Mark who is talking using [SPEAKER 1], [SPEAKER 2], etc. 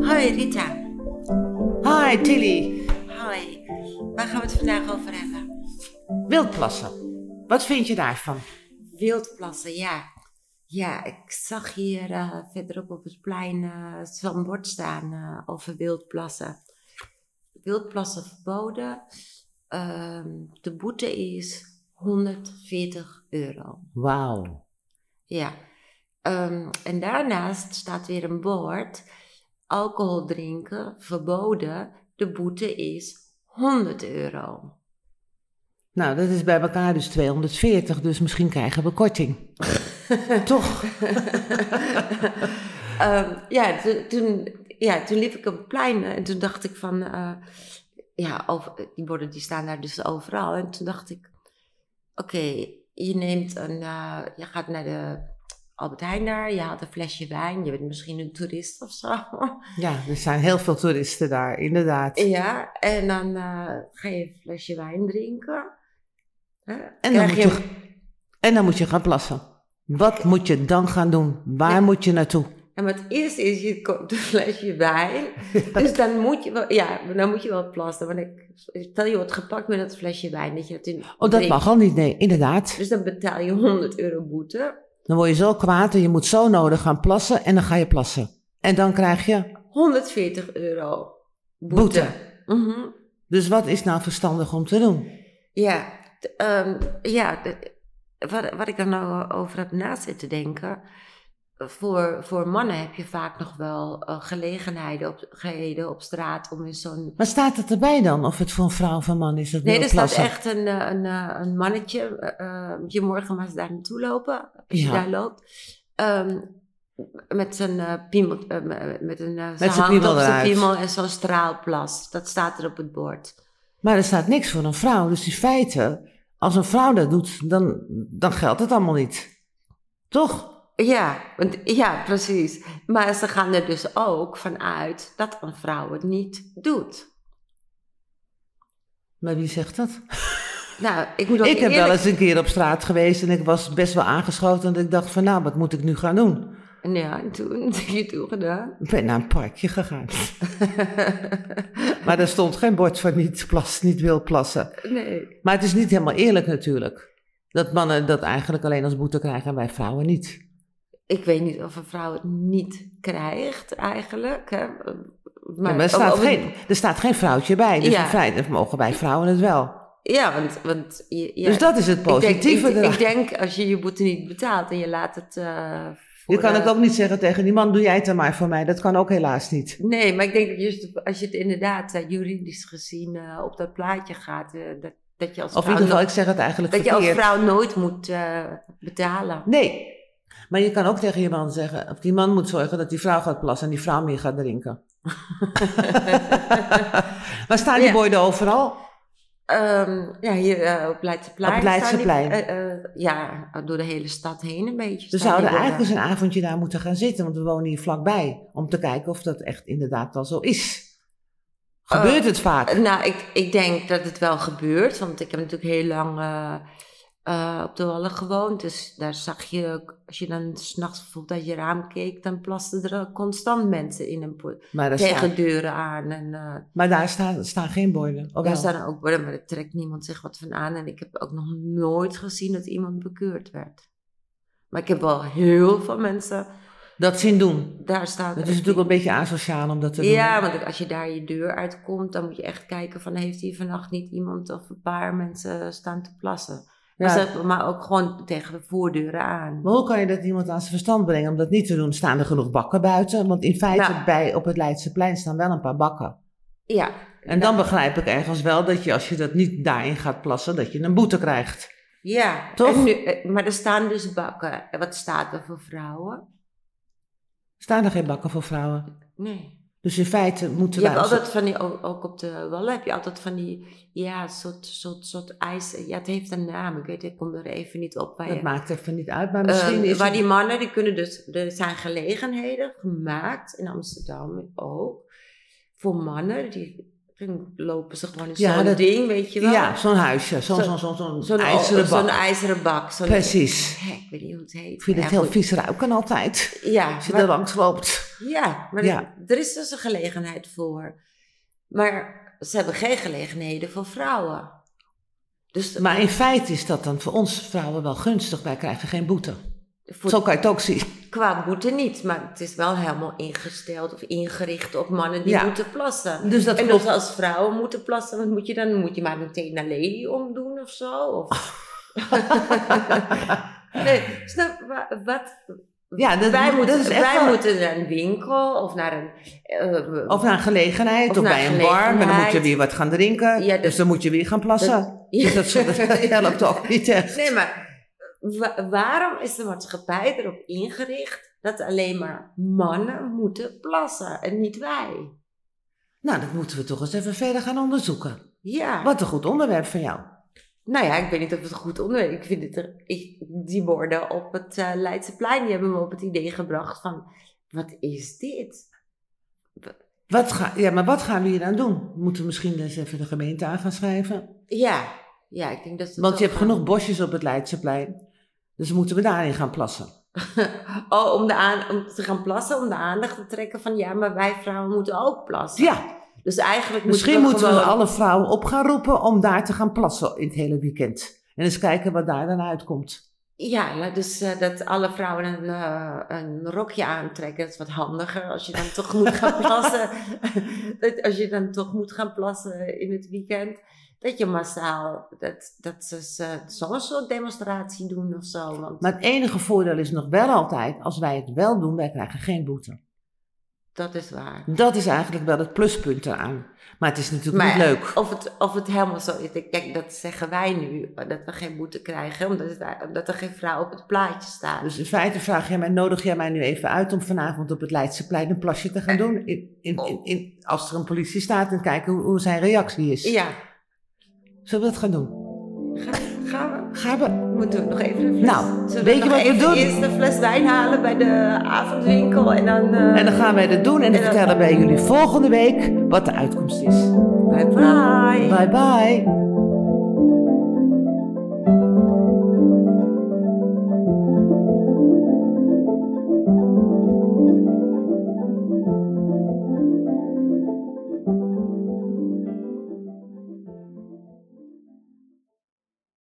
[SPEAKER 1] Hoi Rita.
[SPEAKER 2] Hi Tilly.
[SPEAKER 1] Hoi. Waar gaan we het vandaag over hebben?
[SPEAKER 2] Wildplassen. Wat vind je daarvan?
[SPEAKER 1] Wildplassen, ja. Ja, ik zag hier eh, verderop op het plein eh, het zandbord staan eh, over wildplassen. Wildplassen verboden. Ehm, de boete is 140 euro.
[SPEAKER 2] Wauw.
[SPEAKER 1] Ja. Ehm, en daarnaast staat weer een bord. Alcohol drinken verboden. De boete is 100 euro.
[SPEAKER 2] Nou, dat is bij elkaar dus 240, dus misschien krijgen we korting. Toch?
[SPEAKER 1] Ehm, ja, toen, toen, ja, toen liep ik op het plein eh, en toen dacht ik van, eh, ja, over, die borden die staan daar dus overal. En toen dacht ik, oké, je neemt een, eh, je gaat naar de Albert Heijn daar, je haalt een flesje wijn, je bent misschien een toerist of zo.
[SPEAKER 2] Ja, er zijn heel veel toeristen daar, inderdaad.
[SPEAKER 1] ja, en dan eh, ga je een flesje wijn drinken. Hè?
[SPEAKER 2] En dan,
[SPEAKER 1] Krijg
[SPEAKER 2] moet je, en dan moet je gaan plassen. Wat moet je dan gaan doen? Waar
[SPEAKER 1] Ja.
[SPEAKER 2] moet je naartoe?
[SPEAKER 1] En maar het eerste is, je koopt een flesje wijn. Dus dan moet je wel, ja, maar dan moet je wel plassen. Want ik, stel je wordt gepakt met dat flesje wijn. Dat je dat in
[SPEAKER 2] Oh, dat
[SPEAKER 1] drinkt.
[SPEAKER 2] mag al niet, nee, inderdaad.
[SPEAKER 1] Dus dan betaal je 100 euro boete.
[SPEAKER 2] Dan word je zo kwaad en je moet zo nodig gaan plassen en dan ga je plassen. En dan krijg je...
[SPEAKER 1] 140 euro boete.
[SPEAKER 2] Boete.
[SPEAKER 1] Mhm.
[SPEAKER 2] Dus wat is nou verstandig om te doen?
[SPEAKER 1] Ja, t- ehm, ja de- wat, wat ik er nou over heb na zitten denken. Voor, voor mannen heb je vaak nog wel eh, gelegenheden op, geheden op straat om in zo'n
[SPEAKER 2] Maar staat het erbij dan? Of het voor een vrouw of een man is? Dat
[SPEAKER 1] Nee,
[SPEAKER 2] wil
[SPEAKER 1] er staat
[SPEAKER 2] plassen?
[SPEAKER 1] echt een, eh, een, eh, een mannetje. eh, eh, je morgen maar eens daar naartoe lopen. Als
[SPEAKER 2] Ja.
[SPEAKER 1] je daar loopt. Ehm, met zijn eh piemel. eh, met een, eh,
[SPEAKER 2] zijn
[SPEAKER 1] hand
[SPEAKER 2] piemel
[SPEAKER 1] op zijn
[SPEAKER 2] eruit.
[SPEAKER 1] piemel en zo'n straalplas. Dat staat er op het bord.
[SPEAKER 2] Maar er staat niks voor een vrouw. Dus in feite, als een vrouw dat doet, dan, dan geldt het allemaal niet. Toch?
[SPEAKER 1] Ja, want, ja, precies. Maar ze gaan er dus ook vanuit dat een vrouw het niet doet.
[SPEAKER 2] Maar wie zegt dat?
[SPEAKER 1] Nou, ik moet ook
[SPEAKER 2] ik heb wel
[SPEAKER 1] eerlijk-
[SPEAKER 2] eens een keer op straat geweest en ik was best wel aangeschoten. En ik dacht van, nou, wat moet ik nu gaan doen?
[SPEAKER 1] Ja, en toen heb je toen gedaan.
[SPEAKER 2] Ik ben naar een parkje gegaan. maar daar stond geen bord van niet, plas, niet wil plassen.
[SPEAKER 1] nee.
[SPEAKER 2] Maar het is niet helemaal eerlijk natuurlijk. Dat mannen dat eigenlijk alleen als boete krijgen en wij vrouwen niet.
[SPEAKER 1] ik weet niet of een vrouw het niet krijgt eigenlijk. Hè? Maar,
[SPEAKER 2] Maar, er, staat
[SPEAKER 1] of- of-
[SPEAKER 2] geen, er staat geen vrouwtje bij. Dus
[SPEAKER 1] Ja.
[SPEAKER 2] in feite mogen wij vrouwen het wel.
[SPEAKER 1] Ja, want... want je- ja,
[SPEAKER 2] Dus dat is het
[SPEAKER 1] ik denk,
[SPEAKER 2] positieve
[SPEAKER 1] ik,
[SPEAKER 2] eraan.
[SPEAKER 1] ik denk als je je boete niet betaalt en je laat het... eh, voor
[SPEAKER 2] Je kan
[SPEAKER 1] de-
[SPEAKER 2] het ook niet zeggen tegen die man, doe jij het dan maar voor mij. Dat kan ook helaas niet.
[SPEAKER 1] Nee, maar ik denk dat juist als je het inderdaad eh, juridisch gezien eh, op dat plaatje gaat... eh, dat, dat je als
[SPEAKER 2] Of in
[SPEAKER 1] vrouw...
[SPEAKER 2] ieder geval,
[SPEAKER 1] no-
[SPEAKER 2] ik zeg het eigenlijk
[SPEAKER 1] dat je als
[SPEAKER 2] verkeerd.
[SPEAKER 1] vrouw nooit moet eh, betalen.
[SPEAKER 2] Nee. Maar je kan ook tegen je man zeggen, of die man moet zorgen dat die vrouw gaat plassen en die vrouw meer gaat drinken. maar staan die
[SPEAKER 1] Ja.
[SPEAKER 2] borden overal?
[SPEAKER 1] Ehm, ja, hier eh, op Leidseplein.
[SPEAKER 2] Op het Leidseplein.
[SPEAKER 1] staan die- eh, eh, ja, door de hele stad heen een beetje. staan die
[SPEAKER 2] We zouden
[SPEAKER 1] borden.
[SPEAKER 2] eigenlijk eens een avondje daar moeten gaan zitten, want we wonen hier vlakbij. Om te kijken of dat echt inderdaad wel zo is.
[SPEAKER 1] Oh.
[SPEAKER 2] Gebeurt het vaak?
[SPEAKER 1] Nou, ik, ik denk dat het wel gebeurt, want ik heb natuurlijk heel lang eh, eh, op de Wallen gewoond. Dus daar zag je, ook, als je dan s'nachts bijvoorbeeld uit je raam keek, dan plasten er eh, constant mensen in een po-
[SPEAKER 2] Maar daar,
[SPEAKER 1] tegen
[SPEAKER 2] staan,
[SPEAKER 1] deuren aan. En eh,
[SPEAKER 2] maar daar staan, staan geen borden. Of
[SPEAKER 1] daar
[SPEAKER 2] Oh, wel?
[SPEAKER 1] staan ook borden, maar daar trekt niemand zich wat van aan. En ik heb ook nog nooit gezien dat iemand bekeurd werd. Maar ik heb wel heel veel mensen
[SPEAKER 2] Dat zien doen.
[SPEAKER 1] daar staan.
[SPEAKER 2] Dat is natuurlijk een beetje asociaal om dat te doen.
[SPEAKER 1] Ja, want als je daar je deur uitkomt, dan moet je echt kijken van heeft hier vannacht niet iemand of een paar mensen staan te plassen. Maar,
[SPEAKER 2] Ja.
[SPEAKER 1] ze- maar ook gewoon tegen de voordeuren aan.
[SPEAKER 2] Maar hoe kan je dat iemand aan zijn verstand brengen om dat niet te doen? Staan er genoeg bakken buiten? Want in feite
[SPEAKER 1] Nou.
[SPEAKER 2] bij, op het Leidseplein staan wel een paar bakken.
[SPEAKER 1] Ja.
[SPEAKER 2] En dan begrijp ik ergens wel dat je als je dat niet daarin gaat plassen, dat je een boete krijgt.
[SPEAKER 1] Ja.
[SPEAKER 2] Toch?
[SPEAKER 1] En nu, eh, maar er staan dus bakken. En Wat staat er voor vrouwen?
[SPEAKER 2] Staan er geen bakken voor vrouwen?
[SPEAKER 1] Nee.
[SPEAKER 2] Dus in feite moeten
[SPEAKER 1] Je
[SPEAKER 2] wij...
[SPEAKER 1] hebt altijd van die, ook ook op de wallen heb je altijd van die, ja, soort, soort, soort ijs. Ja, het heeft een naam. Ik weet, ik kom er even niet op. Waar
[SPEAKER 2] Dat
[SPEAKER 1] je-
[SPEAKER 2] maakt even niet uit, maar misschien
[SPEAKER 1] Ehm,
[SPEAKER 2] is
[SPEAKER 1] waar
[SPEAKER 2] het-
[SPEAKER 1] die mannen, die kunnen dus, er zijn gelegenheden gemaakt in Amsterdam ook. Voor mannen die dan lopen ze gewoon in zo'n
[SPEAKER 2] Ja, dat-
[SPEAKER 1] ding, weet je wel.
[SPEAKER 2] Ja, zo'n huisje. Zo'n
[SPEAKER 1] Zo-
[SPEAKER 2] zo'n zo'n zo'n
[SPEAKER 1] Zo'n
[SPEAKER 2] ijzeren bak.
[SPEAKER 1] Zo'n ijzeren bak. Zo'n,
[SPEAKER 2] Precies.
[SPEAKER 1] Hè, ik weet niet hoe het heet.
[SPEAKER 2] Ik vind
[SPEAKER 1] Ja,
[SPEAKER 2] het heel
[SPEAKER 1] goed.
[SPEAKER 2] vies ruiken altijd.
[SPEAKER 1] Ja,
[SPEAKER 2] Als je
[SPEAKER 1] maar-
[SPEAKER 2] er langs loopt.
[SPEAKER 1] Ja, maar
[SPEAKER 2] Ja.
[SPEAKER 1] er is dus een gelegenheid voor. Maar ze hebben geen gelegenheden voor vrouwen. Dus
[SPEAKER 2] Maar in feite is dat dan voor ons vrouwen wel gunstig. Wij krijgen geen boete.
[SPEAKER 1] voor-
[SPEAKER 2] Zo kan je het ook zien.
[SPEAKER 1] qua boete niet. Maar het is wel helemaal ingesteld of ingericht op mannen die
[SPEAKER 2] Ja.
[SPEAKER 1] moeten plassen.
[SPEAKER 2] Dus dat
[SPEAKER 1] en
[SPEAKER 2] klopt.
[SPEAKER 1] dus als vrouwen moeten plassen, wat moet je dan? Moet je maar meteen naar lady omdoen of zo? Of... nee, snap wa- wat?
[SPEAKER 2] Ja, dat,
[SPEAKER 1] wij
[SPEAKER 2] dat
[SPEAKER 1] moeten,
[SPEAKER 2] is echt
[SPEAKER 1] wij
[SPEAKER 2] wel-
[SPEAKER 1] moeten naar een winkel of naar een... eh,
[SPEAKER 2] Of naar een gelegenheid,
[SPEAKER 1] Of
[SPEAKER 2] of,
[SPEAKER 1] naar
[SPEAKER 2] bij een
[SPEAKER 1] gelegenheid.
[SPEAKER 2] bar. Maar dan moet je weer wat gaan drinken.
[SPEAKER 1] Ja, dat-
[SPEAKER 2] dus dan moet je weer gaan plassen.
[SPEAKER 1] Ja.
[SPEAKER 2] Dus dat, soort- dat helpt ook niet echt.
[SPEAKER 1] Nee, maar wa- waarom is de maatschappij erop ingericht dat alleen maar mannen moeten plassen en niet wij?
[SPEAKER 2] Nou, dat moeten we toch eens even verder gaan onderzoeken.
[SPEAKER 1] Ja.
[SPEAKER 2] Wat een goed onderwerp van jou.
[SPEAKER 1] Nou ja, ik weet niet of het goed onderwerp Ik vind het er, ik, die woorden op het eh, Leidseplein die hebben me op het idee gebracht van, wat is dit?
[SPEAKER 2] Wat ga, ja, maar wat gaan we hier aan doen? Moeten we misschien eens even de gemeente aan gaan schrijven?
[SPEAKER 1] Ja, ja, ik denk dat ze
[SPEAKER 2] Want je
[SPEAKER 1] toch
[SPEAKER 2] hebt
[SPEAKER 1] gaan-
[SPEAKER 2] genoeg bosjes op het Leidseplein. Dus moeten we daarin gaan plassen.
[SPEAKER 1] Oh, om, de aan, om te gaan plassen, om de aandacht te trekken van, ja, maar wij vrouwen moeten ook plassen.
[SPEAKER 2] Ja,
[SPEAKER 1] Dus eigenlijk
[SPEAKER 2] misschien
[SPEAKER 1] moeten we
[SPEAKER 2] moeten we
[SPEAKER 1] gewoon-
[SPEAKER 2] alle vrouwen op gaan roepen om daar te gaan plassen in het hele weekend. En eens kijken wat daar dan uitkomt.
[SPEAKER 1] Ja, nou, dus eh, dat alle vrouwen een, eh, een rokje aantrekken, dat is wat handiger als je dan toch moet gaan plassen. dat, als je dan toch moet gaan plassen in het weekend. Dat je massaal, dat, dat ze ze zo'n soort demonstratie doen of zo. Want
[SPEAKER 2] Maar het enige voordeel is nog wel altijd, als wij het wel doen, wij krijgen geen boete.
[SPEAKER 1] dat is waar.
[SPEAKER 2] Dat is eigenlijk wel het pluspunt eraan. Maar het is natuurlijk
[SPEAKER 1] Maar
[SPEAKER 2] niet leuk.
[SPEAKER 1] Of het, of het helemaal zo is. ik- Kijk, dat zeggen wij nu, dat we geen boete krijgen, omdat, het- omdat er geen vrouw op het plaatje staat.
[SPEAKER 2] Dus in feite vraag jij mij, nodig jij mij nu even uit om vanavond op het Leidseplein een plasje te gaan doen? In, in, in, in- als er een politie staat en kijken hoe, hoe zijn reactie is.
[SPEAKER 1] ja,
[SPEAKER 2] Zullen we dat gaan doen?
[SPEAKER 1] gaan we.
[SPEAKER 2] Gaan we?
[SPEAKER 1] Moeten we nog even een fles...
[SPEAKER 2] Nou,
[SPEAKER 1] Zullen
[SPEAKER 2] weet je
[SPEAKER 1] nog
[SPEAKER 2] wat we
[SPEAKER 1] even
[SPEAKER 2] doen?
[SPEAKER 1] Eerst een fles wijn halen bij de avondwinkel en dan... eh,
[SPEAKER 2] En dan gaan wij dat doen en dan
[SPEAKER 1] En dan-
[SPEAKER 2] vertellen wij jullie volgende week wat de uitkomst is.
[SPEAKER 1] Bye bye!
[SPEAKER 2] Bye bye.